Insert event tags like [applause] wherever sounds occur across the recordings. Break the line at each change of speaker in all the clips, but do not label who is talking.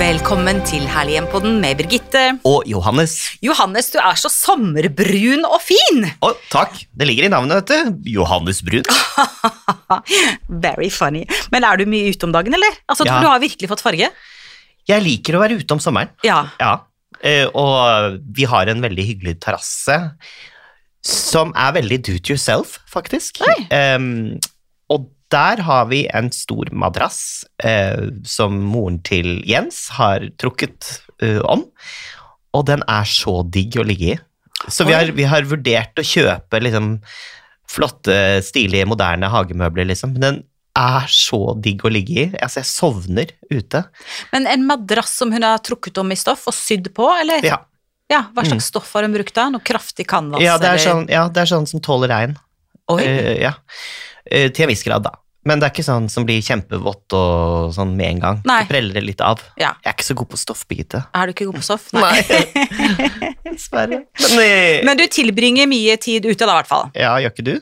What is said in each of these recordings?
Velkommen til Herlighjempodden med Birgitte.
Og Johannes.
Johannes, du er så sommerbrun og fin!
Å, takk. Det ligger i navnet, vet du. Johannes Brun.
Very funny. Men er du mye ute om dagen, eller? Altså,
Ja.
Du har virkelig fått farge?
Jeg liker å være ute om sommeren.
Ja.
Ja. Eh, Og vi har en veldig hyggelig terrasse som er veldig do it yourself, faktisk. Em, og der har vi en stor madrass eh, som moren til Jens har trukket eh, om. Og den er så digg å ligge i. Så vi
Oi.
har, vi har vurdert å kjøpe liksom, flotte, stilige, moderne hagemøbler, liksom. Men den er så digg å ligge i. Altså, jeg sovner ute.
Men en madrass som hun har trukket om i stoff og sydd på, eller?
Ja. Mm.
Ja, Hva slags stoff har hun brukt da? Noe kraftig canvas?
Ja, det er
eller-
sånn, ja, det er sånn som tåler regn.
Oi.
Eh, ja. Eh, til en viss grad, da. Men det er ikke sånn som blir kjempevått og sånn med en gang.
Nei.
Det preller det litt av.
Ja.
Jeg er ikke så god på stoff, Birgitte.
Er du ikke god på stoff? [laughs]
Dessverre. Men, eh,
Men du tilbringer mye tid ute da, i hvert fall.
ja, gjør ikke du?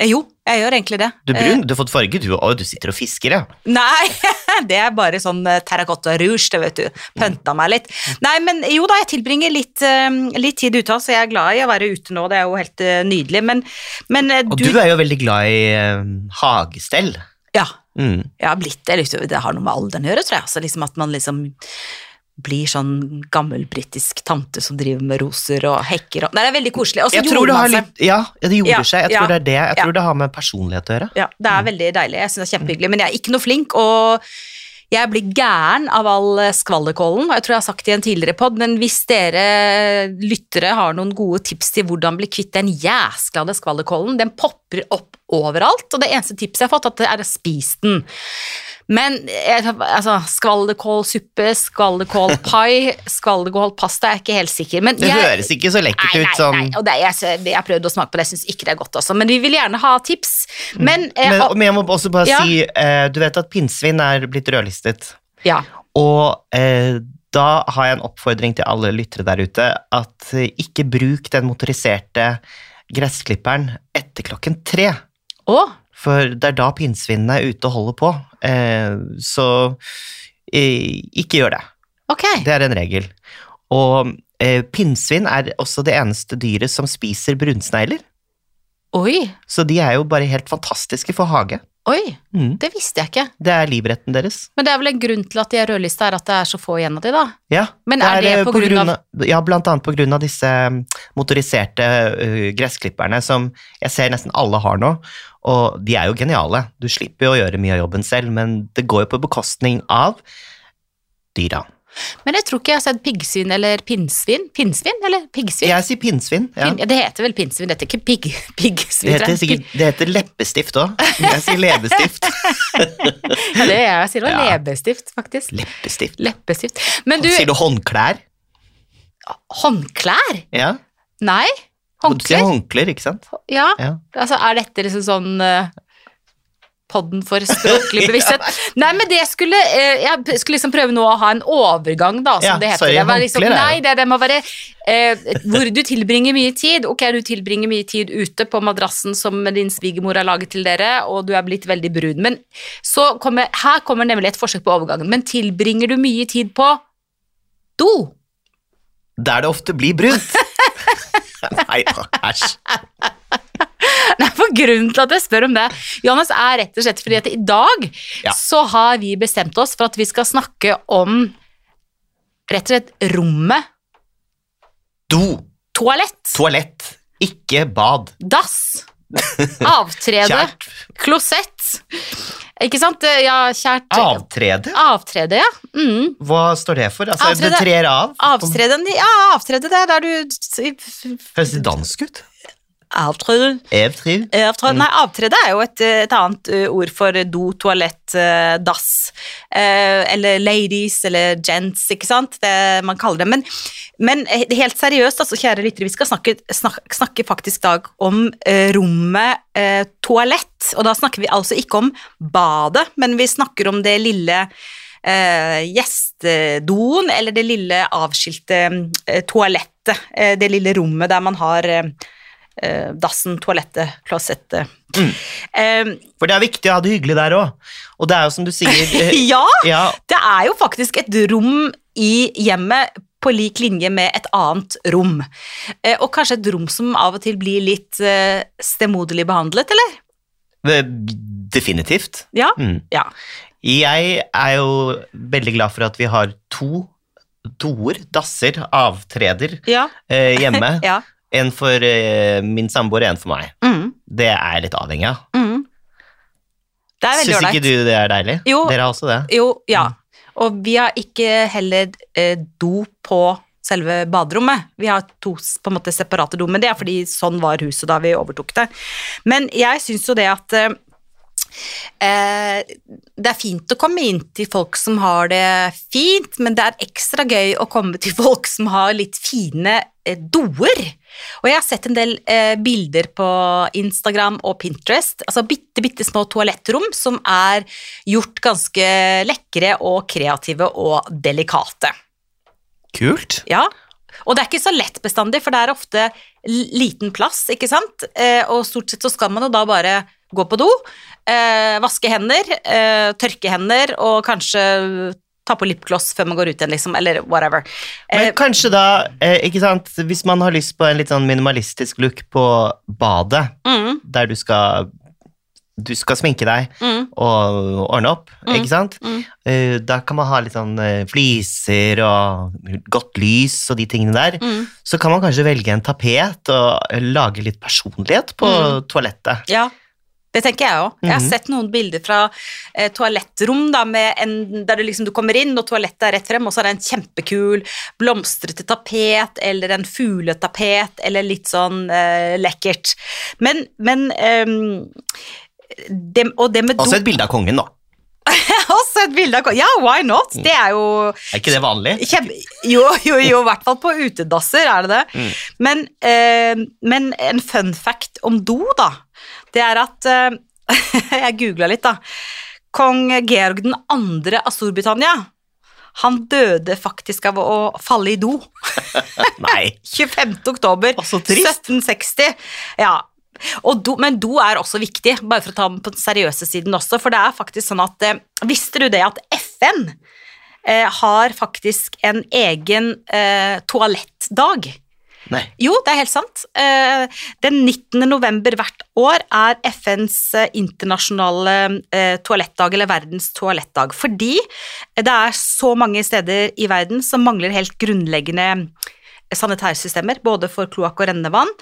Eh, Jo, jeg gjør egentlig det.
Du er brun, du har fått farge, du. Å, du sitter og fisker, ja.
Nei, [laughs] det er bare sånn eh, terracotta rouge, det vet du. Pønta meg litt. Nei, men jo da, jeg tilbringer litt, eh, litt tid ute, så jeg er glad i å være ute nå, det er jo helt eh, nydelig. Men, men eh,
Og
du,
du, er jo veldig glad i eh, hagestell.
Ja,
Mm.
jeg har blitt det. Liksom, det har noe med alderen å gjøre, tror jeg. Altså, liksom at man liksom blir sånn gammel britisk tante som driver med roser og hekker og Nei, det er veldig koselig. Og så
Jeg tror
gjorde
det
man
har
seg-
litt Ja, det gjorde
Ja,
seg. Jeg
ja,
tror det er det. Jeg
ja.
tror det har med personlighet å gjøre.
Ja, det er veldig deilig. Jeg synes det er
Mm.
kjempehyggelig. Men jeg er ikke noe flink, og jeg blir gæren av all skvallerkålen. Og jeg tror jeg har sagt det i en tidligere pod, men hvis dere lyttere har noen gode tips til hvordan bli kvitt den jæsklade skvallerkålen, den popper opp overalt, og det eneste tipset jeg har fått, at det er å spise den. Men eh, altså, skvallerkålsuppe,
[laughs]
skvallerkålpai, skvallerkålpasta, jeg er ikke helt sikker. Men
Det
jeg,
høres ikke så lekkert
Nei,
ut
nei,
som
nei. Og det, jeg, jeg har prøvd å smake på det, jeg syns ikke det er godt også. Men vi vil gjerne ha tips. Men, eh,
Mm. men,
og-
men jeg må også bare
Ja.
si, eh, du vet at pinnsvin er blitt rødlistet.
ja.
Og eh, da har jeg en oppfordring til alle lyttere der ute, at eh, ikke bruk den motoriserte gressklipperen etter klokken tre.
Å,
For det er da pinnsvinene er ute og holder på. Eh, så eh, ikke gjør det.
ok.
Det er en regel. Og eh, pinnsvin er også det eneste dyret som spiser brunsnegler.
Oi,
Så de er jo bare helt fantastiske for hage.
oi.
Mm.
Det visste jeg ikke.
Det er livretten deres.
Men det er vel en grunn til at de er rødlista, er at det er så få igjen av de, da.
Ja,
Men er det
eh,
på grunn av-
Ja, blant annet på grunn av disse mm, motoriserte eh, gressklipperne som jeg ser nesten alle har nå, og de er jo geniale. Du slipper jo å gjøre mye av jobben selv, men det går jo på bekostning av dyra.
Men jeg tror ikke jeg har sett piggsvin eller pinnsvin. Pinnsvin eller piggsvin?
Jeg sier pinnsvin. Ja.
Pin- Ja. Det heter vel pinnsvin, det heter ikke pigg, [laughs] piggsvin.
Det
tror
heter,
jeg.
sikkert, det heter leppestift òg. Jeg sier
[laughs]
leppestift.
Pigg- Ja, det er jeg sier, det var
Ja.
leppestift, faktisk.
Leppestift.
Leppestift. Men du,
Sier du håndklær?
håndklær?
Ja.
Nei,
Du sier
håndklær.
håndklær, ikke sant?
Ja,
Ja.
altså er dette liksom sånn eh, podden for språklig
[laughs]
bevissthet? Nei, men det skulle eh, Jeg skulle liksom prøve nå å ha en overgang, da, som
Ja,
det heter.
sorry,
det var liksom,
håndklær er
nei,
jo-
det, det må være eh, hvor du tilbringer mye tid. Ok, du tilbringer mye tid ute på madrassen som din svigermor har laget til dere, og du er blitt veldig brun. Men så kommer Her kommer nemlig et forsøk på overgangen. Men tilbringer du mye tid på do?
Der det ofte blir
[laughs]
brunt. Nei da, æsj.
Nei, [laughs] for grunnen til at jeg spør om det, Johannes, er rett og slett fordi at i dag
Ja.
så har vi bestemt oss for at vi skal snakke om rett og slett rommet,
Do.
toalett,
Toalett, ikke bad. [laughs]
dass, avtrede,
Kjært
klosett. Ikke sant? Ja, kjært
avtrede.
Avtrede, ja. Mm.
Hva står det for? Altså,
Avtrede.
Du trer av.
Avtreden, ja, avtrede, det er der du
Høres det dansk ut?
Avtrede
Evtriv.
Avtrede, nei, avtrede er jo et, et annet ø, ord for do, toalett, ø, dass. Eh, Eller ladies, eller gents, ikke sant? Det man kaller det. Men, men he- helt seriøst, altså, kjære lyttere, vi skal snakke, snakke, snakke faktisk i dag om ø, rommet ø, toalett. Og da snakker vi altså ikke om badet, men vi snakker om det lille eh, gjestedoen, eller det lille avskilte eh, toalettet. eh, det lille rommet der man har eh, eh, dassen, toalettet, klosettet.
Mm.
Eh,
For det er viktig å ha det hyggelig der òg. Og det er jo som du
[laughs]
sier eh,
ja,
ja,
det er jo faktisk et rom i hjemmet på lik linje med et annet rom. Eh, og kanskje et rom som av og til blir litt eh, stemoderlig behandlet, eller?
det- eh, definitivt.
Ja.
Mm.
Ja.
Jeg er jo veldig glad for at vi har to doer, dasser, avtreder
Ja.
eh, hjemme.
[laughs] ja.
En for eh, min samboer, en for meg.
Mm,
Det er jeg litt avhengig av.
mm. Det er veldig
Syns ikke
ålreit.
du det er deilig?
Jo.
Dere har også det?
Jo, ja. Og vi har ikke heller eh, do på selve baderommet. Vi har to s- på en måte separate do, men det er fordi sånn var huset da vi overtok det. Men jeg syns jo det at eh, eh, det er fint å komme inn til folk som har det fint, men det er ekstra gøy å komme til folk som har litt fine eh, doer. Og jeg har sett en del eh, bilder på Instagram og Pinterest, altså bitte, bitte små toalettrom som er gjort ganske lekre og kreative og delikate.
Kult.
Ja, og det er ikke så lett bestandig, for det er ofte l- liten plass, ikke sant? Eh, og stort sett så skal man jo da bare gå på do, eh, vaske hender, eh, tørke hender, og kanskje ta på lipgloss før man går ut igjen, liksom, eller whatever.
Men
Eh,
kanskje da, eh, ikke sant, hvis man har lyst på en litt sånn minimalistisk look på badet,
mm,
der du skal, du skal sminke deg
mm,
og ordne opp,
Mm.
ikke sant?
mm.
Eh, Da kan man ha litt sånn eh, fliser og godt lys og de tingene der.
Mm.
Så kan man kanskje velge en tapet og eh, lage litt personlighet på
Mm.
toalettet.
Ja, det tenker jeg òg. Jeg har
Mhm.
sett noen bilder fra eh, toalettrom da, med en, der du, liksom, du kommer inn, og toalettet er rett frem, og så er det en kjempekul blomstrete tapet, eller en fugletapet, eller litt sånn eh, lekkert. Men, men ehm, det, Og det med do [laughs]
Også et bilde av kongen, da.
Også et bilde av ko- Ja, why not? Det er jo
Er ikke det vanlig?
[laughs] Kjempe, jo, jo, jo, i hvert fall på utedasser er det det.
Mm.
Men, eh, men en fun fact om do, da, det er at eh, Jeg googla litt, da. Kong Georg 2. av Storbritannia, han døde faktisk av å falle i do.
Nei.
25. oktober
Å, så trist.
1760. Ja. Og do, men do er også viktig, bare for å ta den på den seriøse siden også. For det er faktisk sånn at eh, Visste du det at FN eh, har faktisk en egen eh, toalettdag?
Nei.
Jo, det er helt sant. Eh, Den 19. november hvert år er FNs eh, internasjonale eh, toalettdag, eller verdens toalettdag, fordi det er så mange steder i verden som mangler helt grunnleggende eh, sanitærsystemer, både for kloakk og rennevann.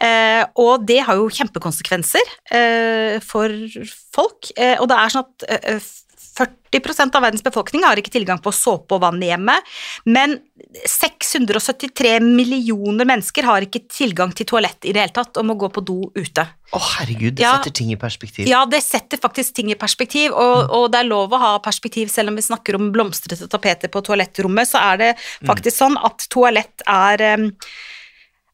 Eh, og det har jo kjempekonsekvenser eh, for folk. Eh, og det er sånn at eh, eh, 40 av verdens befolkning har ikke tilgang på såpe og vann i hjemmet, men 673 millioner mennesker har ikke tilgang til toalett i det hele tatt og må gå på do ute.
Å, herregud, det
Ja.
setter ting i perspektiv.
Ja, det setter faktisk ting i perspektiv, og, og det er lov å ha perspektiv selv om vi snakker om blomstrete tapeter på toalettrommet, så er det faktisk sånn at toalett er em,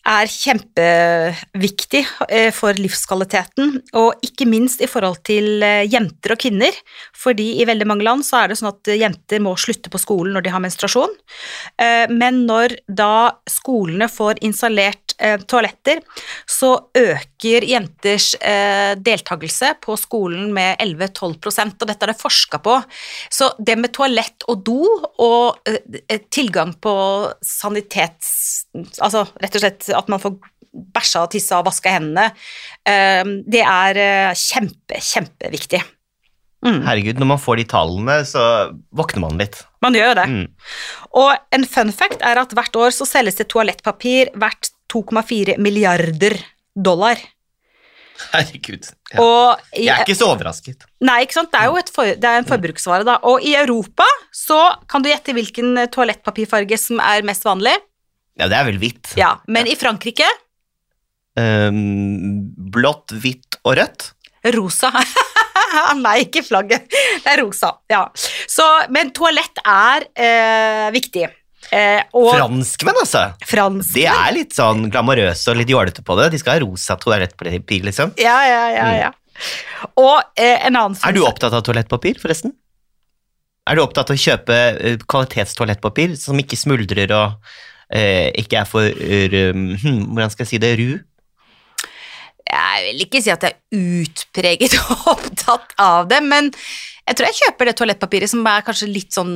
er kjempeviktig eh, for livskvaliteten, og ikke minst i forhold til eh, jenter og kvinner. Fordi i veldig mange land så er det sånn at eh, jenter må slutte på skolen når de har menstruasjon. Eh, Men når da skolene får installert eh, toaletter, så øker jenters eh, deltakelse på skolen med 11-12 prosent, og dette er det forska på. Så det med toalett og do og eh, eh, tilgang på sanitets... Altså rett og slett at man får bæsja og tissa og vaska hendene, eh, det er eh, kjempe, kjempeviktig. Mm,
Herregud, når man får de tallene, så våkner man litt.
man gjør jo det.
Mm.
Og en fun fact er at hvert år så selges det toalettpapir verdt 2,4 milliarder dollar.
Herregud. Ja.
Og i, e-
Jeg er ikke så overrasket.
nei, ikke sant? Det er jo et for, det er en forbruksvare, da. Og i Europa så kan du gjette hvilken eh, toalettpapirfarge som er mest vanlig.
Ja, det er vel hvitt.
Ja, Men i Frankrike
Ehm, blått, hvitt og rødt.
rosa. [laughs] nei, ikke flagget. Det er rosa. Ja. Så, men toalett er eh, viktig. Eh, og
Franskmenn, altså!
fransk
De er litt sånn glamorøse og litt jålete på det. De skal ha rosa toalettpapir, liksom.
Ja, ja, ja. ja. Og eh, en annen fun
Mm. Er du opptatt av toalettpapir, forresten? Er du opptatt av å kjøpe eh, kvalitetstoalettpapir som ikke hm, smuldrer og eh, ikke er for eh, hm, Hvordan skal jeg si det? Ru?
Jeg vil ikke si at jeg er utpreget [laughs] opptatt av det, men jeg tror jeg kjøper det toalettpapiret som er kanskje litt sånn,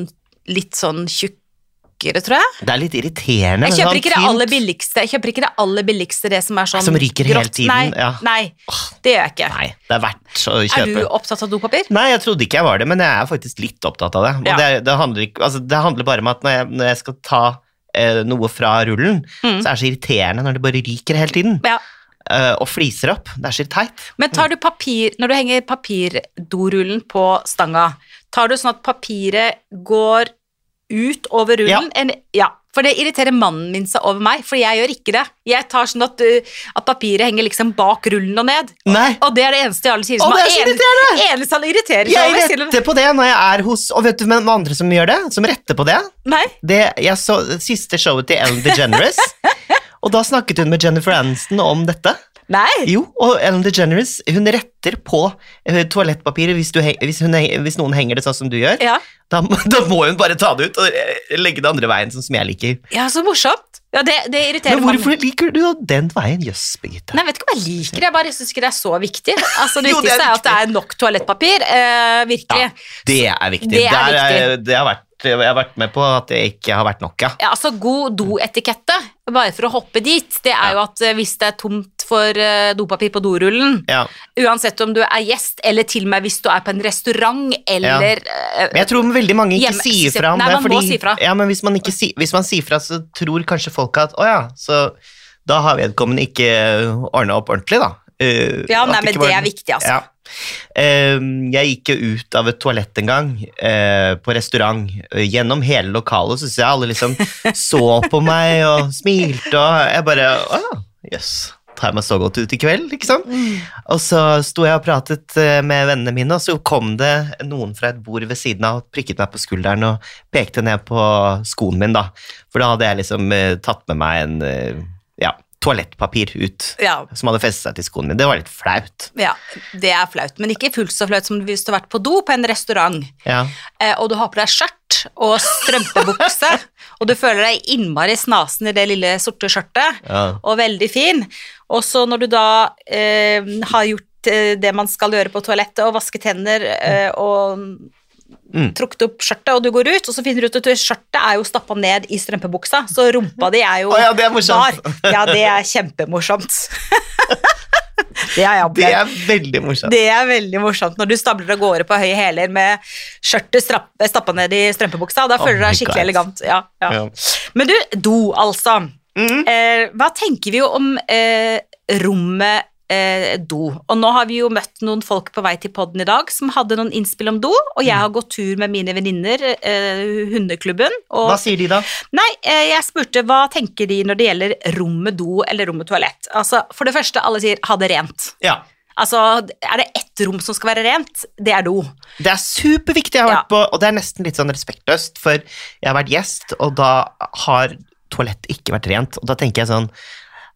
litt sånn tjukkere, tror jeg.
Det er litt irriterende. men
Jeg kjøper ikke det
sånn
aller
fint.
billigste, jeg kjøper ikke det aller billigste, det som er sånn
Som ryker hele
grått.
tiden,
Nei,
ja.
nei, det gjør jeg ikke.
Nei, det er verdt å
Er du
kjøpe.
opptatt av dopapir?
Nei, jeg trodde ikke jeg var det, men jeg er faktisk litt opptatt av det. Og
Ja.
det, er- det, handler ikke, altså, det handler bare om at når jeg, når jeg skal ta eh, noe fra rullen,
Mm.
så er det så irriterende når det bare ryker hele tiden.
Ja.
eh, og fliser opp. Det er så teit.
Men tar du papir, når du henger papirdorullen på stanga, tar du sånn at papiret går ut over
Ja.
rullen? En, ja. For det irriterer mannen min seg over meg, for jeg gjør ikke det. Jeg tar sånn at, uh, at papiret henger liksom bak rullen og ned.
Nei.
Og det er det eneste alle sier
Å,
som
det er så
en- eneste han irriterer seg
Jeg
over. selv om-
retter på det når jeg er hos Og vet du hvem andre som gjør det? Som retter på det?
Nei,
det jeg så siste showet til
[laughs]
Ellen DeGeneres. og da snakket hun med Jennifer Aniston om dette.
nei.
Jo, og Ellen DeGeneres hun retter på eh, toalettpapiret hvis, du, he- hvis, hun, he- hvis noen henger det sånn som du gjør.
Ja.
Da, [laughs] må- da må hun bare ta det ut og eh, legge det andre veien, sånn som jeg liker.
ja, så morsomt. Ja, det, det irriterer
Men
mannen.
hvorfor liker du den veien? Jøss, Birgitte.
Nei, jeg vet ikke om jeg liker det, jeg bare syns ikke det er så viktig. Altså, Det
[laughs] Jo, det er
viktigste er at det er nok toalettpapir, eh, virkelig.
Ja. Det er viktig.
Det er
Der det har vært, jeg har vært med på at det ikke har vært nok, ja.
Ja, altså God doetikette, bare for å hoppe dit, det er jo at eh, hvis det er tomt for eh, dopapir på dorullen,
ja.
uansett om du er gjest, eller til og med hvis du er på en restaurant, eller eh,
Men jeg tror veldig mange ikke
Hjemme-
sier fra om
Nei,
det.
man må si fra.
Ja, men hvis man, ikke si, hvis man sier fra, så tror kanskje folk at å ja, så da har vedkommende ikke ordna opp ordentlig, da. Eh,
Ja,
at
nei, men
ikke var-
det er viktig, altså.
Ja. Eh, jeg gikk jo ut av et toalett en gang, eh, på restaurant. Eh, Gjennom hele lokalet så jeg alle
[laughs]
liksom så på meg og smilte, og jeg bare Å, jøss. Tar jeg meg så godt ut i kveld, ikke sant?
Mm.
Og så sto jeg og pratet eh, med vennene mine, og så kom det noen fra et bord ved siden av og prikket meg på skulderen og pekte ned på skoen min, da. For da hadde jeg liksom eh, tatt med meg en eh, ja, toalettpapir ut
ja.
som hadde festet seg til skoen min. Det var litt flaut.
ja, det er flaut. Men ikke fullt så flaut som hvis du har vært på do på en restaurant,
Ja.
eh, og du har på deg skjørt og
[laughs]
strømpebukse, og du føler deg innmari snasen i det lille sorte skjørtet,
Ja.
og veldig fin. Og så når du da eh, har gjort eh, det man skal gjøre på toalettet, og vasket hender eh, og
Mm.
trukket opp skjørtet, og du går ut, og så finner du ut at skjørtet er jo stappa ned i strømpebuksa, så rumpa di er jo
Å ja, det er morsomt.
bar. Ja, det er kjempemorsomt.
[laughs]
[laughs] det har jeg
Det
opplevd.
er veldig morsomt.
Det er veldig morsomt når du stabler av gårde på høye hæler med skjørtet strapp- stappa ned i strømpebuksa. Da
Oh
føler du
my
deg skikkelig
God.
elegant. Ja, ja.
Ja.
Men du, do, altså.
Mhm.
Eh, hva tenker vi jo om eh, rommet eh, do? Og nå har vi jo møtt noen folk på vei til podden i dag som hadde noen innspill om do, og jeg har gått tur med mine venninner, eh, hundeklubben, og
Hva sier de da?
Nei, eh, jeg spurte hva tenker de når det gjelder rommet do eller rommet toalett? Altså, for det første, alle sier ha det rent.
Ja.
Altså, er det ett rom som skal være rent? Det er do.
Det er superviktig, jeg har vært på, og det er nesten litt sånn respektløst, for jeg har vært gjest, og da har toalettet ikke vært rent, og da tenker jeg sånn,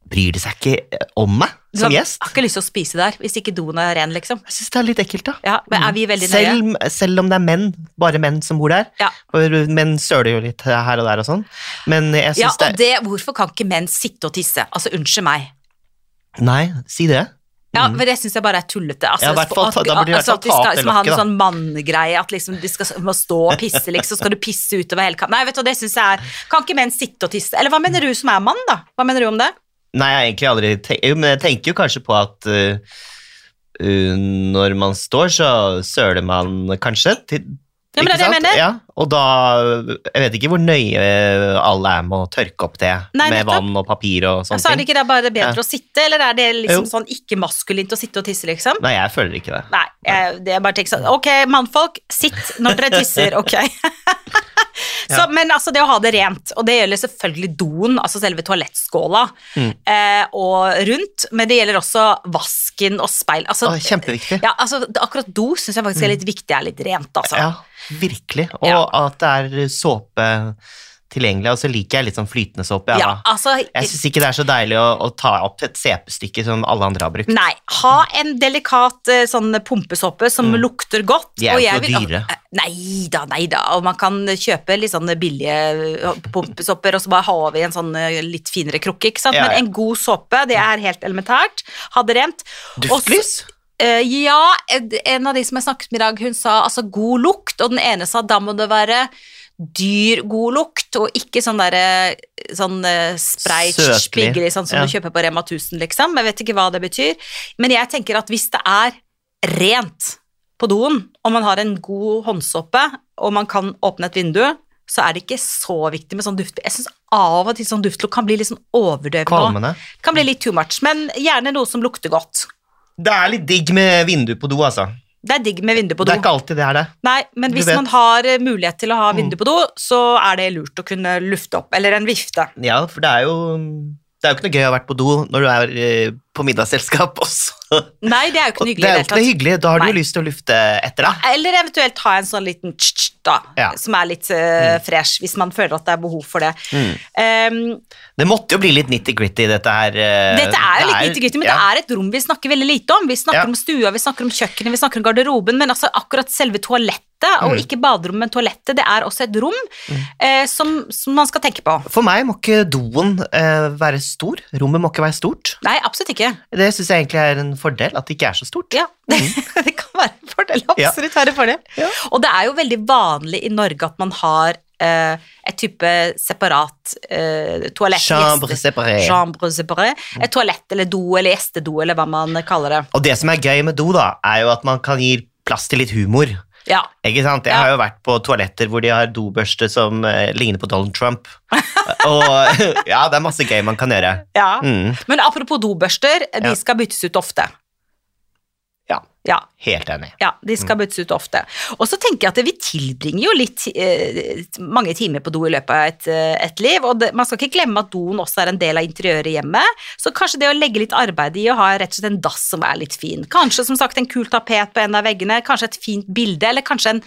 bryr de seg ikke eh, om meg
Du
som
har-
gjest?
Har ikke lyst til å spise der hvis ikke doen er ren, liksom.
Jeg synes det er litt ekkelt da.
Ja, men er vi veldig nøye?
Mm. Selv, selv om det er menn, bare menn som bor der,
Ja.
for menn søler jo litt her og der og sånn, men jeg
Ja,
synes
og
det
det, hvorfor kan ikke menn sitte og tisse? Altså, unnskyld meg.
er... Nei, si det.
Ja, for det syns jeg bare er tullete. Altså,
Mm. Ja, i hvert fall ta- da burde de i hvert fall
at vi
ta av
skal
det
liksom, ha en
lokket, da.
sånn manngreie at liksom, du skal må stå og pisse, liksom, skal du pisse utover hele kanten. Nei, vet du hva, det syns jeg er Kan ikke menn sitte og tisse? Eller hva mener du som er mann, da? Hva mener du om det?
Nei, jeg har egentlig aldri tenkt, jo, men jeg tenker jo kanskje på at øh, øh, når man står, så søler man kanskje til
Ja, men det er det jeg
Ikke sant?
mener.
Ja, og da Jeg vet ikke hvor nøye alle er med å tørke opp det
Nei,
med
nettopp.
vann og papir og
Ja, så
sånne
Altså, er det
ting.
ikke det bare bedre
Ja.
å sitte, eller er det liksom
Jo.
sånn ikke-maskulint å sitte og tisse, liksom?
Nei, jeg føler ikke det.
Nei, jeg, det er bare tenk sånn Ok, mannfolk, sitt når dere tisser,
[laughs]
ok. Så,
Ja.
Men altså, det å ha det rent, og det gjelder selvfølgelig doen, altså selve toalettskåla,
Mm.
eh, og rundt, men det gjelder også vasken og speil. Altså,
Å, kjempeviktig. Mm.
ja, altså, det- akkurat do syns jeg altså. faktisk er litt viktig er litt rent, altså.
Ja, virkelig. Og
Ja.
at det er såpeting tilgjengelig, og så liker jeg litt sånn flytende såpe.
Ja,
Ja. da.
altså
Jeg syns ikke det er så deilig å, å ta opp et sepestykke som alle andre har brukt.
Nei. Ha en delikat eh, sånn pumpesåpe som lukter godt.
Mm. De er
og
jo
jeg
ikke
vil- Eh,
noe dyre.
Nei da, nei da. Og man kan kjøpe litt sånne billige eh, pumpesåper, og så bare ha over i en sånn eh, litt finere krukke. ikke sant?
Ja, ja.
Men en god såpe, det er helt elementært. Ha det rent. Og så-
Duftlys?
Eh, ja, en- en av de som jeg snakket med i dag, hun sa altså god lukt, og den ene sa da må det være dyr god lukt, og ikke sånn derre sånn eh, spreit,
Søtlig.
spiggelig, sånn som
Ja.
du kjøper på Rema 1000, liksom. Jeg vet ikke hva det betyr. Men jeg tenker at hvis det er rent på doen, og man har en god håndsåpe, og man kan åpne et vindu, så er det ikke så viktig med sånn duft. Jeg syns av og til sånn duftlukt kan bli litt sånn overdøvende.
Kvalmende?
Kan bli litt too much, men gjerne noe som lukter godt.
Det er litt digg med vindu på do, altså.
Det er digg med vindu på do.
Det er ikke alltid det er det.
Nei, men
Du
hvis
vet. Mm.
man har eh, mulighet til å ha vindu på do, så er det lurt å kunne lufte opp, eller en vifte.
Ja, for det er jo det er jo ikke noe gøy å ha vært på do når du er eh, på middagsselskap [laughs] også.
Nei, det er jo ikke
Og
noe
det
hyggelig i
er
det
jo ikke noe
hele tatt.
hyggelig. Da har du jo
Nei.
lyst til å lufte etter deg.
Eller eventuelt ha en sånn liten tsk-tsk, da,
Ja. Mm.
som er litt eh, fresh, hvis man føler at det er behov for det. Ehm,
Det måtte jo bli litt nitty-gritty, dette her. eh,
dette er jo litt nitty-gritty, men
ja.
det er et rom vi snakker veldig lite om. Vi snakker
Ja.
om stua, vi snakker om kjøkkenet, vi snakker om garderoben, men altså akkurat selve toalettet, og
Mm.
ikke baderommet, men toalettet, det er også et rom eh, som, som man skal tenke på.
For meg må ikke doen eh, være stor. Rommet må ikke være stort.
Nei, absolutt ikke.
Det syns jeg egentlig er en fordel, at det ikke er så stort.
Ja, det, [laughs] det kan være en fordel. Absolutt være en fordel.
Mm. Ja.
Og det er jo veldig vanlig i Norge at man har eh, et type separat eh, toalett.
Chambre
gjeste-
separé. Mm.
Chambre separé. Et toalett eller do eller gjestedo eller hva man kaller det.
Og det som er gøy med do, da, er jo at man kan gi plass til litt humor.
Ja.
Ikke sant? Jeg
Ja.
har jo vært på toaletter hvor de har dobørste som eh, ligner på Donald
[laughs]
Trump. Og [laughs] ja, det er masse gøy man kan gjøre.
ja.
Mm,
Men apropos dobørster, de
Ja.
skal byttes ut ofte.
Ja.
Ja,
helt enig.
ja, de
Mm.
skal byttes ut ofte. Og så tenker jeg at vi tilbringer jo litt eh, mange timer på do i løpet av et, eh, et liv, og det, man skal ikke glemme at doen også er en del av interiøret i hjemmet, så kanskje det å legge litt arbeid i å ha rett og slett en dass som er litt fin, kanskje som sagt en kul tapet på en av veggene, kanskje et fint bilde, eller kanskje en,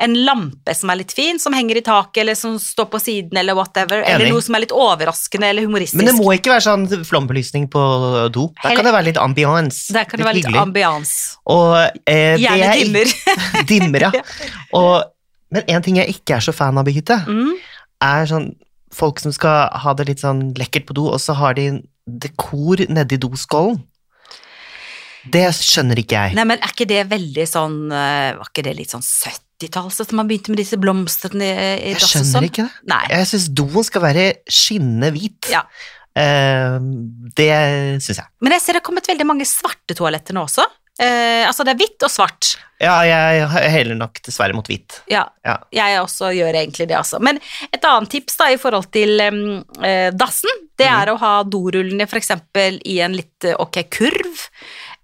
en lampe som er litt fin, som henger i taket, eller som står på siden, eller whatever,
Enig.
eller noe som er litt overraskende eller humoristisk.
Men det må ikke være sånn flombelysning på do. Der
Heller-
kan det være litt ambiance.
Der kan det være litt
hyggelig.
ambiance.
Og, eh, det
Gjerne
jeg-
dimmer.
[laughs] dimmer, ja.
[laughs] Ja.
Og, men en ting jeg ikke er så fan av, Birgitte,
Mm.
er sånn folk som skal ha det litt sånn lekkert på do, og så har de en dekor nedi doskålen. Det skjønner ikke jeg.
Nei, men er ikke det veldig sånn eh, Var ikke det litt sånn 70-talls at man begynte med disse blomstene i, i
Jeg
dass og
skjønner
sånn?
ikke det.
Nei.
Jeg syns doen skal være skinnende hvit.
Ja.
Eh, det syns jeg.
Men jeg ser det har kommet veldig mange svarte toaletter nå også. Eh, altså det er hvitt og svart.
Ja, jeg heller nok dessverre mot hvit.
Ja,
Ja.
jeg også gjør egentlig det, altså. Men et annet tips da i forhold til em, eh, dassen, det
Mhm.
er å ha dorullene f.eks. i en litt eh, ok kurv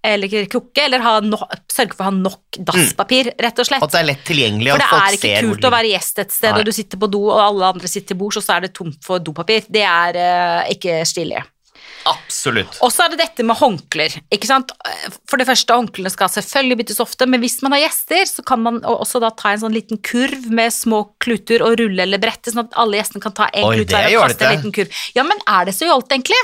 eller krukke, eller ha no sørge for å ha
Mm.
nok dasspapir, rett og slett.
Og at det er lett tilgjengelig.
For
og
det
at folk
er ikke
ser hvor
kult
det
å være gjest et sted,
Nei.
og du sitter på do, og alle andre sitter til bords, og så er det tomt for dopapir. Det er eh, ikke stilig.
Absolutt.
Og så er det dette med håndklær. ikke sant? For det første, håndklærne skal selvfølgelig byttes ofte, men hvis man har gjester, så kan man o- også da ta en sånn liten kurv med små kluter og rulle eller brette, sånn at alle gjestene kan ta en
Oi,
klut
det
hver
er
og kaste en
jålete.
liten kurv. Ja, men er det så jålt, egentlig?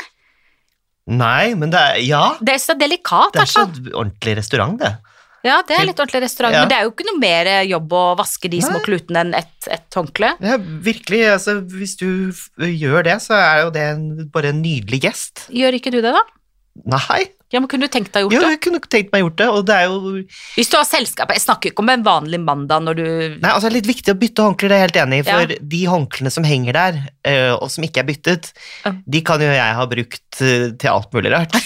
Nei, men det er Ja.
Det er så delikat,
Det er ikke
altså.
en ordentlig restaurant, det.
Ja, det er litt ordentlig restaurant,
Ja.
men det er jo ikke noe mer eh, jobb å vaske de små
Nei.
klutene enn et, et håndkle.
Ja, virkelig, altså, hvis du f- gjør det, så er jo det en, bare en nydelig gest.
Gjør ikke du det, da?
Nei,
Ja, men kunne du tenkt deg å gjort
jo,
det?
jeg kunne ikke tenkt meg gjort det, og det er jo
Hvis du har selskap Jeg snakker ikke om en vanlig mandag når du
Nei, altså, det er litt viktig å bytte håndklær, det er jeg helt enig i, for
Ja.
de håndklærne som henger der, eh, og som ikke er byttet,
Ja.
de kan jo jeg ha brukt eh, til alt mulig
[laughs]
rart.
Jeg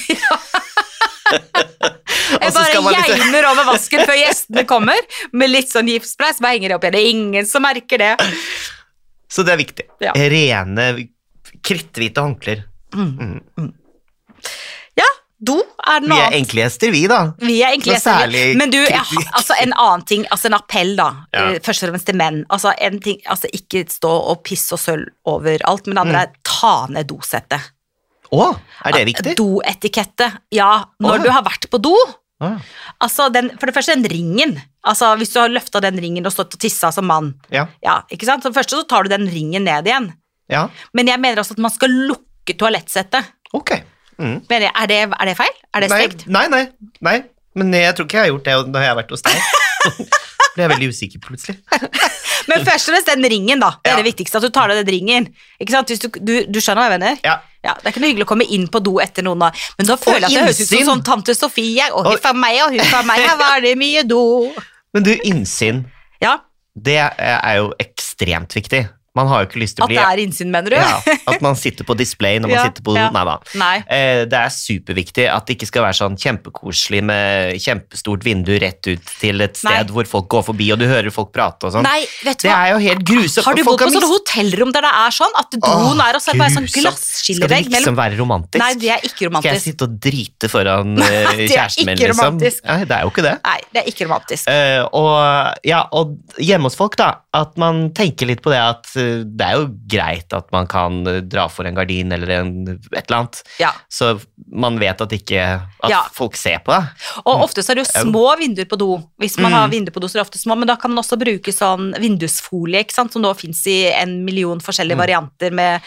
[laughs] Og så skal man
bare
liksom-
geimer over vasken før gjestene
[laughs]
kommer, med litt sånn gipsspray, så bare henger det opp igjen. Det er ingen som merker det.
Så det er viktig.
Ja.
Rene, kritthvite håndklær.
Ja, do er
Vi
noe
er
annet.
enkle gjester, vi, da.
Vi er egentlig
Noe
gjester.
særlig
Men du, jeg, har-
kritikk.
altså en annen ting, altså en appell da,
Ja.
eh, først og fremst til menn. Altså en ting, altså ikke stå og pisse og sølv overalt, men det andre er ta ned dosettet.
Å, er Mm. det
Ah,
viktig?
Doetikette. Ja,
Å, ja.
når du har vært på do,
Å,
Altså, den, for det første, den ringen. Altså, hvis du har løfta den ringen og stått og tissa som mann,
Ja.
ja, ikke sant? Så først så tar du den ringen ned igjen.
Ja,
Men jeg mener også at man skal lukke toalettsettet.
ok. Mm.
Men jeg- Er det, er det feil? Er det
nei,
strengt?
Nei, nei, nei. Men jeg tror ikke jeg har gjort det når jeg har vært hos
[laughs]
deg. Ble jeg veldig usikker plutselig.
Men først og fremst den ringen, da. Det er
Ja.
det viktigste. At du tar deg den ringen. Ikke sant? Hvis du, du, du skjønner hva jeg mener?
Ja.
Ja, Det er ikke noe hyggelig å komme inn på do etter noen, da. Men da føler jeg at det høres ut som
innsyn.
sånn tante Sofie. Og
Og-
huff a meg, og huff a meg, her var det mye do.
Men du, innsyn,
Ja,
det er jo ekstremt viktig. Man har jo ikke lyst til å
At
bli
det er innsyn, mener du?
ja, At man sitter på display når man
[laughs] Ja,
sitter på
ja.
Nei da.
Nei.
Eh, Det er superviktig at det ikke skal være sånn kjempekoselig med kjempestort vindu rett ut til et sted
Nei.
hvor folk går forbi, og du hører folk prate og sånn.
Nei, vet du
Det
hva.
er jo helt grusomt.
Har du
Folk
bodd på
mist-
sånne hotellrom der det er sånn at doen
Åh,
er også bare sånn
grusomt.
glasskillevegg
Skal det liksom
mellom
være romantisk?
Nei, det er ikke
Skal jeg
romantisk.
sitte og drite foran eh,
det er
kjæresten min,
ikke
liksom?
romantisk.
Nei, det er jo ikke det.
Nei, det er ikke romantisk.
Eh, og, ja, og hjemme hos folk, da, at man tenker litt på det at eh, det er jo greit at man kan eh, dra for en gardin eller en, et eller annet,
Ja.
så man vet at ikke at
Ja.
folk ser på deg.
Og ofte så er det jo små vinduer på do. Hvis man
Mm.
har vinduer på do, så er det ofte små, men da kan man også bruke sånn vindusfolie, ikke sant, som nå fins i en million
Mm.
forskjellige varianter med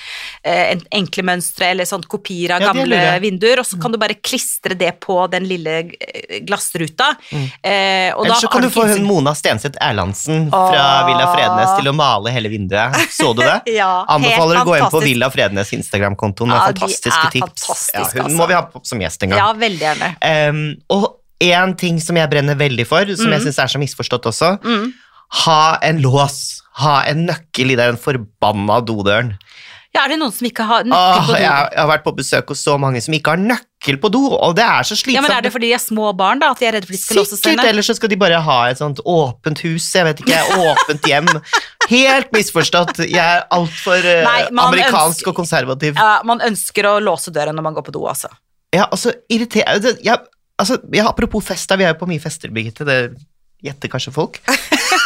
eh, en- enkle mønstre eller sånn kopier av
Ja, det Mm.
gamle
lurer jeg.
vinduer, og så kan du bare klistre det på den lille eh, glassruta. Eh, og da
Ellers så
har
kan du
ikke
få
innsyn-
hun Mona Stenseth Erlandsen fra
Åh.
Villa Frednes til å male hele vinduet. Så du det?
[laughs] Ja, helt
Anbefaler å gå inn på
fantastisk.
Villa Frednes Instagram-konto. Hun har
Ja, de er
fantastiske tips.
fantastiske,
ja, hun
altså.
må vi ha på- som gjest en gang.
Ja, veldig gjerne.
Em, og en ting som jeg brenner veldig for, som
Mm.
jeg syns er så misforstått også, ha en lås. Ha en nøkkel i den forbanna dodøren.
Ja, er det noen som ikke har nøkkel
Åh,
på
jeg,
do?
jeg har vært på besøk hos så mange som ikke har nøkkel på do, og det er så slitsomt.
Ja, men Er det fordi de er små barn, da? At de er redde for de skal låse seg
Sikkert,
inne?
ellers så skal de bare ha et sånt åpent hus, jeg vet ikke, åpent hjem. Helt misforstått. Jeg er altfor
Nei, man
amerikansk
ønsker-
og konservativ.
Ja, man ønsker å låse døren når man går på do, altså.
Ja, altså, irriter... det- Ja, altså, ja, apropos fest, da, vi er jo på mye fester, Birgitte. Det gjetter
[laughs]
kanskje folk.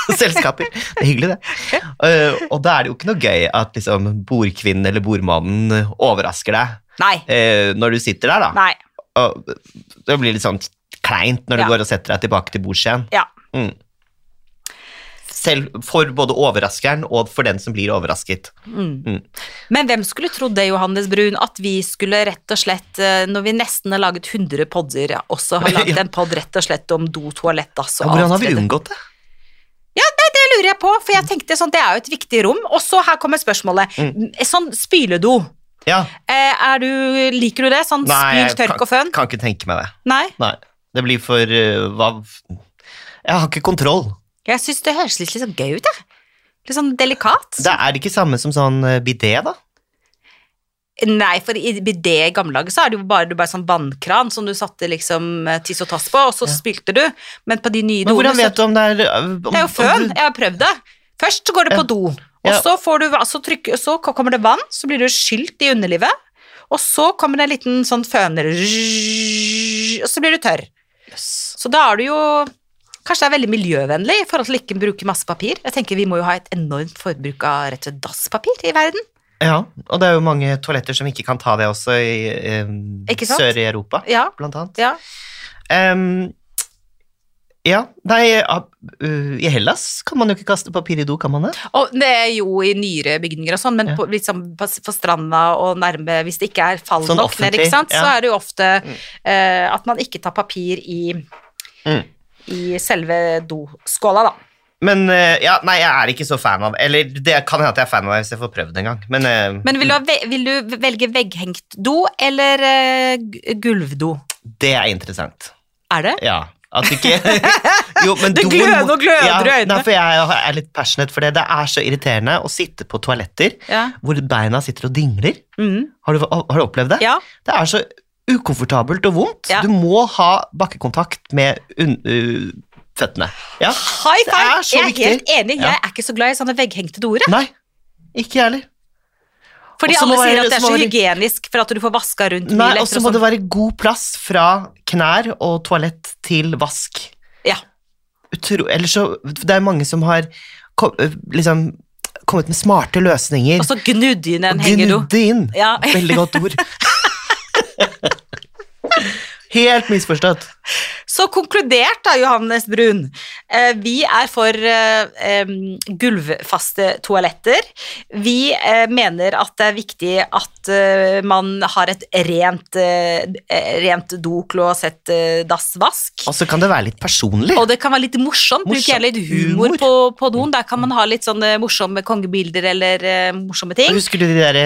Selskaper. Det er hyggelig, det. Eh, og da er det jo ikke noe gøy at liksom, bordkvinnen eller bordmannen overrasker deg
Nei.
eh, når du sitter der, da.
Nei.
Og det blir litt sånn kleint når du
Ja.
går og setter deg tilbake til bords igjen.
Ja.
Mm. Selv for både overraskeren og for den som blir overrasket.
Men hvem skulle trodd det, Johannes Brun, at vi skulle rett og slett, eh, når vi nesten har laget 100 podder, ja, også
[laughs]
har laget
Ja.
en podd rett og slett om do, toalett, dass og
hvordan har vi
avtrede?
unngått det?
Det lurer jeg på, for jeg tenkte sånn, det er jo et viktig rom. Og så her kommer spørsmålet.
Mm.
Sånn spyledo,
Ja.
eh, er du, liker du det? Sånn
Nei,
spyl,
jeg
tørk
kan,
og føn?
kan ikke tenke meg det.
Nei,
Nei, det blir for eh, hva Jeg har ikke kontroll.
jeg synes det høres litt, litt sånn gøy ut, jeg. Litt sånn delikat.
Det er det ikke samme som sånn eh, bidé, da?
Nei, for i bidé i gamle dager så er det jo bare, du bare sånn vannkran som du satte liksom eh, tiss og tass på, og så spylte du. Men på de nye doene
Men hvordan
så
vet du om det er eh, om,
Det er jo føn. Jeg har prøvd det. Først så går det på do, og
Ja.
så, får du, så, trykker, så kommer det vann, så blir du skylt i underlivet, og så kommer det en liten sånn føner, og så blir du tørr. Så da er du jo Kanskje det er veldig miljøvennlig i forhold til ikke å bruke masse papir. Jeg tenker Vi må jo ha et enormt forbruk av rett og slett dasspapir i verden.
Ja, og det er jo mange toaletter som ikke kan ta det også i eh,
Ikke sant?
sør i Europa,
Ja,
blant annet.
ja.
Em, ja, nei ab- uh, I Hellas kan man jo ikke kaste papir i do, kan man det?
Og det er jo i nyere bygninger og sånn, men
Ja.
på, liksom, på, på stranda og nærme Hvis det ikke er fall
Sånn
nok ned,
offentlig,
ikke sant, så
ja.
er det jo ofte eh, at man ikke tar papir i,
Mm.
i selve doskåla, da.
Men eh, ja, nei, jeg er ikke så fan av Eller det kan hende at jeg er fan av det hvis jeg får prøvd det en gang. Men, eh,
Men vil du, ha ve- vil du velge vegghengt do eller eh, gu- gulvdo?
det er interessant.
Er det?
Ja. At du
[laughs]
ikke jo, men
Det
doen
gløder-
må-
nå gløder i øynene.
Nei, for jeg er litt passionate for det. Det er så irriterende å sitte på toaletter
Ja.
hvor beina sitter og dingler.
Mm.
Har du, har du opplevd det?
ja.
Det er så ukomfortabelt og vondt.
Ja.
Du må ha bakkekontakt med un uh, føttene. Ja.
High
Det
five!
er så
Jeg er
viktig.
helt enig.
Ja.
Jeg er ikke så glad i sånne vegghengte doer. jeg.
Nei, ikke jeg heller.
Fordi
Og så
alle
må
sier
være-
at det er
så
så
må være-
hygienisk for at du får vaska rundt mye
Nei,
lettere.
Og så må
og
det
sånn.
være god plass fra knær og toalett til vask.
Ja.
Utro, eller så, det er mange som har kom, øh, liksom, kommet med smarte løsninger.
Og så gnudd inn en
Og
hengedo. [laughs]
gnudde inn.
Ja.
Veldig godt ord. Helt misforstått.
Så konkludert da, Johannes Brun. Eh, Vi er for eh, em, gulvfaste toaletter. Vi eh, mener at det er viktig at eh, man har et rent, eh, eh, rent doklosett, eh, dassvask.
Og så kan det være litt personlig.
Og det kan være litt morsomt. Bruk
Morsomt.
gjerne litt humor,
Humor.
På, på doen. Der kan man ha litt sånne morsomme kongebilder eller eh, morsomme ting.
Husker du de der,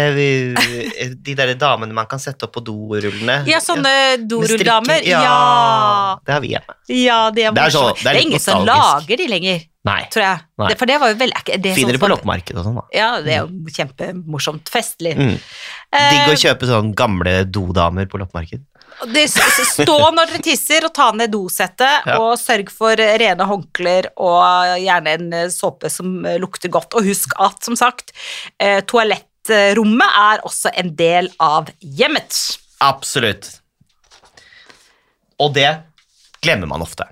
eh, de der damene man kan sette opp på dorullene?
Ja, sånne
Med strikker.
dorulldamer.
Ja.
Ja.
Det har vi hjemme.
ja, de er
Det er så-
morsomme. Det
det er
er
litt
ingen som
nostalgisk.
lager de lenger,
Nei.
tror jeg.
Nei.
Det, for det var jo vel... er ikke- Det er
Finner
sånn
det på
for-
loppemarkedet og sånn, da.
Ja, det er jo kjempemorsomt. Festlig.
Mm. Digg å
Eh,
kjøpe sånn gamle dodamer på loppemarked.
og det, s- s- stå når dere tisser, og ta ned dosettet,
[laughs] Ja.
og sørg for eh, rene håndklær og gjerne en eh, såpe som eh, lukter godt. Og husk at, som sagt, eh, toalettrommet er også en del av hjemmet.
Absolutt. Og det glemmer man ofte.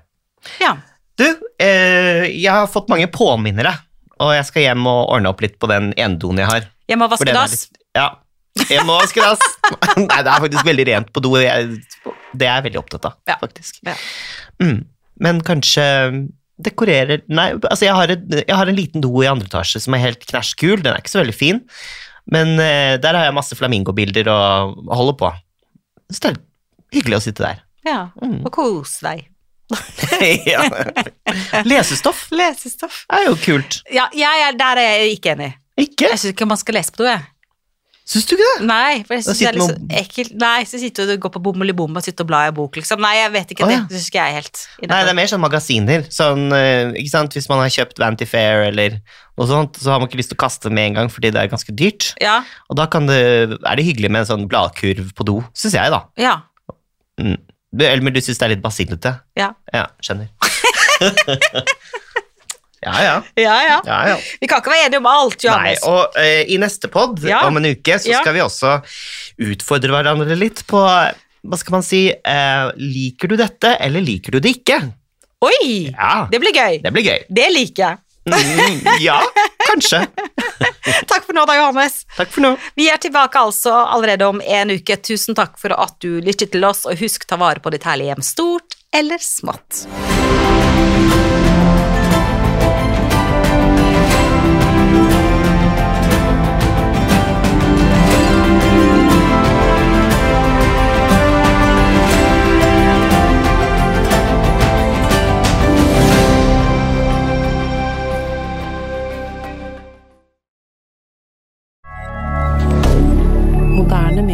Ja.
Du, eh, jeg har fått mange påminnere, og jeg skal hjem og ordne opp litt på den endoen jeg har.
Jeg må
For
vaske
den er
dass.
litt- Ja. Jeg må vaske dass. [laughs] Nei, det er faktisk veldig rent på do. og Jeg, det er jeg veldig opptatt av,
Ja.
faktisk.
Ja.
Mm. Men kanskje dekorere Nei, altså jeg har, et, jeg har en liten do i andre etasje som er helt knæsjkul. Den er ikke så veldig fin, men eh, der har jeg masse flamingobilder og holder på. Så det er hyggelig å sitte der. [laughs]
Ja.
Mm.
Og kos deg.
ja. Lesestoff
Lesestoff.
er jo kult.
Ja, jeg er, der er jeg ikke enig.
Ikke?
Jeg syns ikke man skal lese på do, jeg.
Syns du ikke det?
Nei, for jeg
Da
synes det er litt så
sitter man-
ekkelt. Nei, så sitter du og går på bommel i bom og sitter og blar i en bok, liksom. Nei, jeg vet ikke
Å,
det.
ja.
Det syns ikke jeg er helt
Nei, det er mer sånn magasiner. Sånn, eh, ikke sant? Hvis man har kjøpt Vanity Fair eller noe sånt, så har man ikke lyst til å kaste det med en gang fordi det er ganske dyrt.
Ja,
Og da kan det, er det hyggelig med en sånn bladkurv på do, syns jeg, da.
ja,
Mm. Du, eller men du syns det er litt basilete?
ja.
Ja, skjønner. [laughs] ja, ja.
Ja, ja.
ja, ja.
Vi kan ikke være enige om alt,
Nei,
Johannes.
og eh, i neste pod
Ja.
om en uke så
Ja.
skal vi også utfordre hverandre litt på eh, hva skal man si? eh, liker du dette, eller liker du det ikke?
Oi!
Ja,
Det blir gøy.
det blir gøy.
Det liker
[laughs]
jeg.
Mm, ja, kanskje.
Takk for nå da, Johannes.
Takk for nå.
Vi er tilbake altså allerede om en uke. Tusen takk for at du lyttet til oss, og husk ta vare på ditt herlige hjem, stort eller smått.
Moderne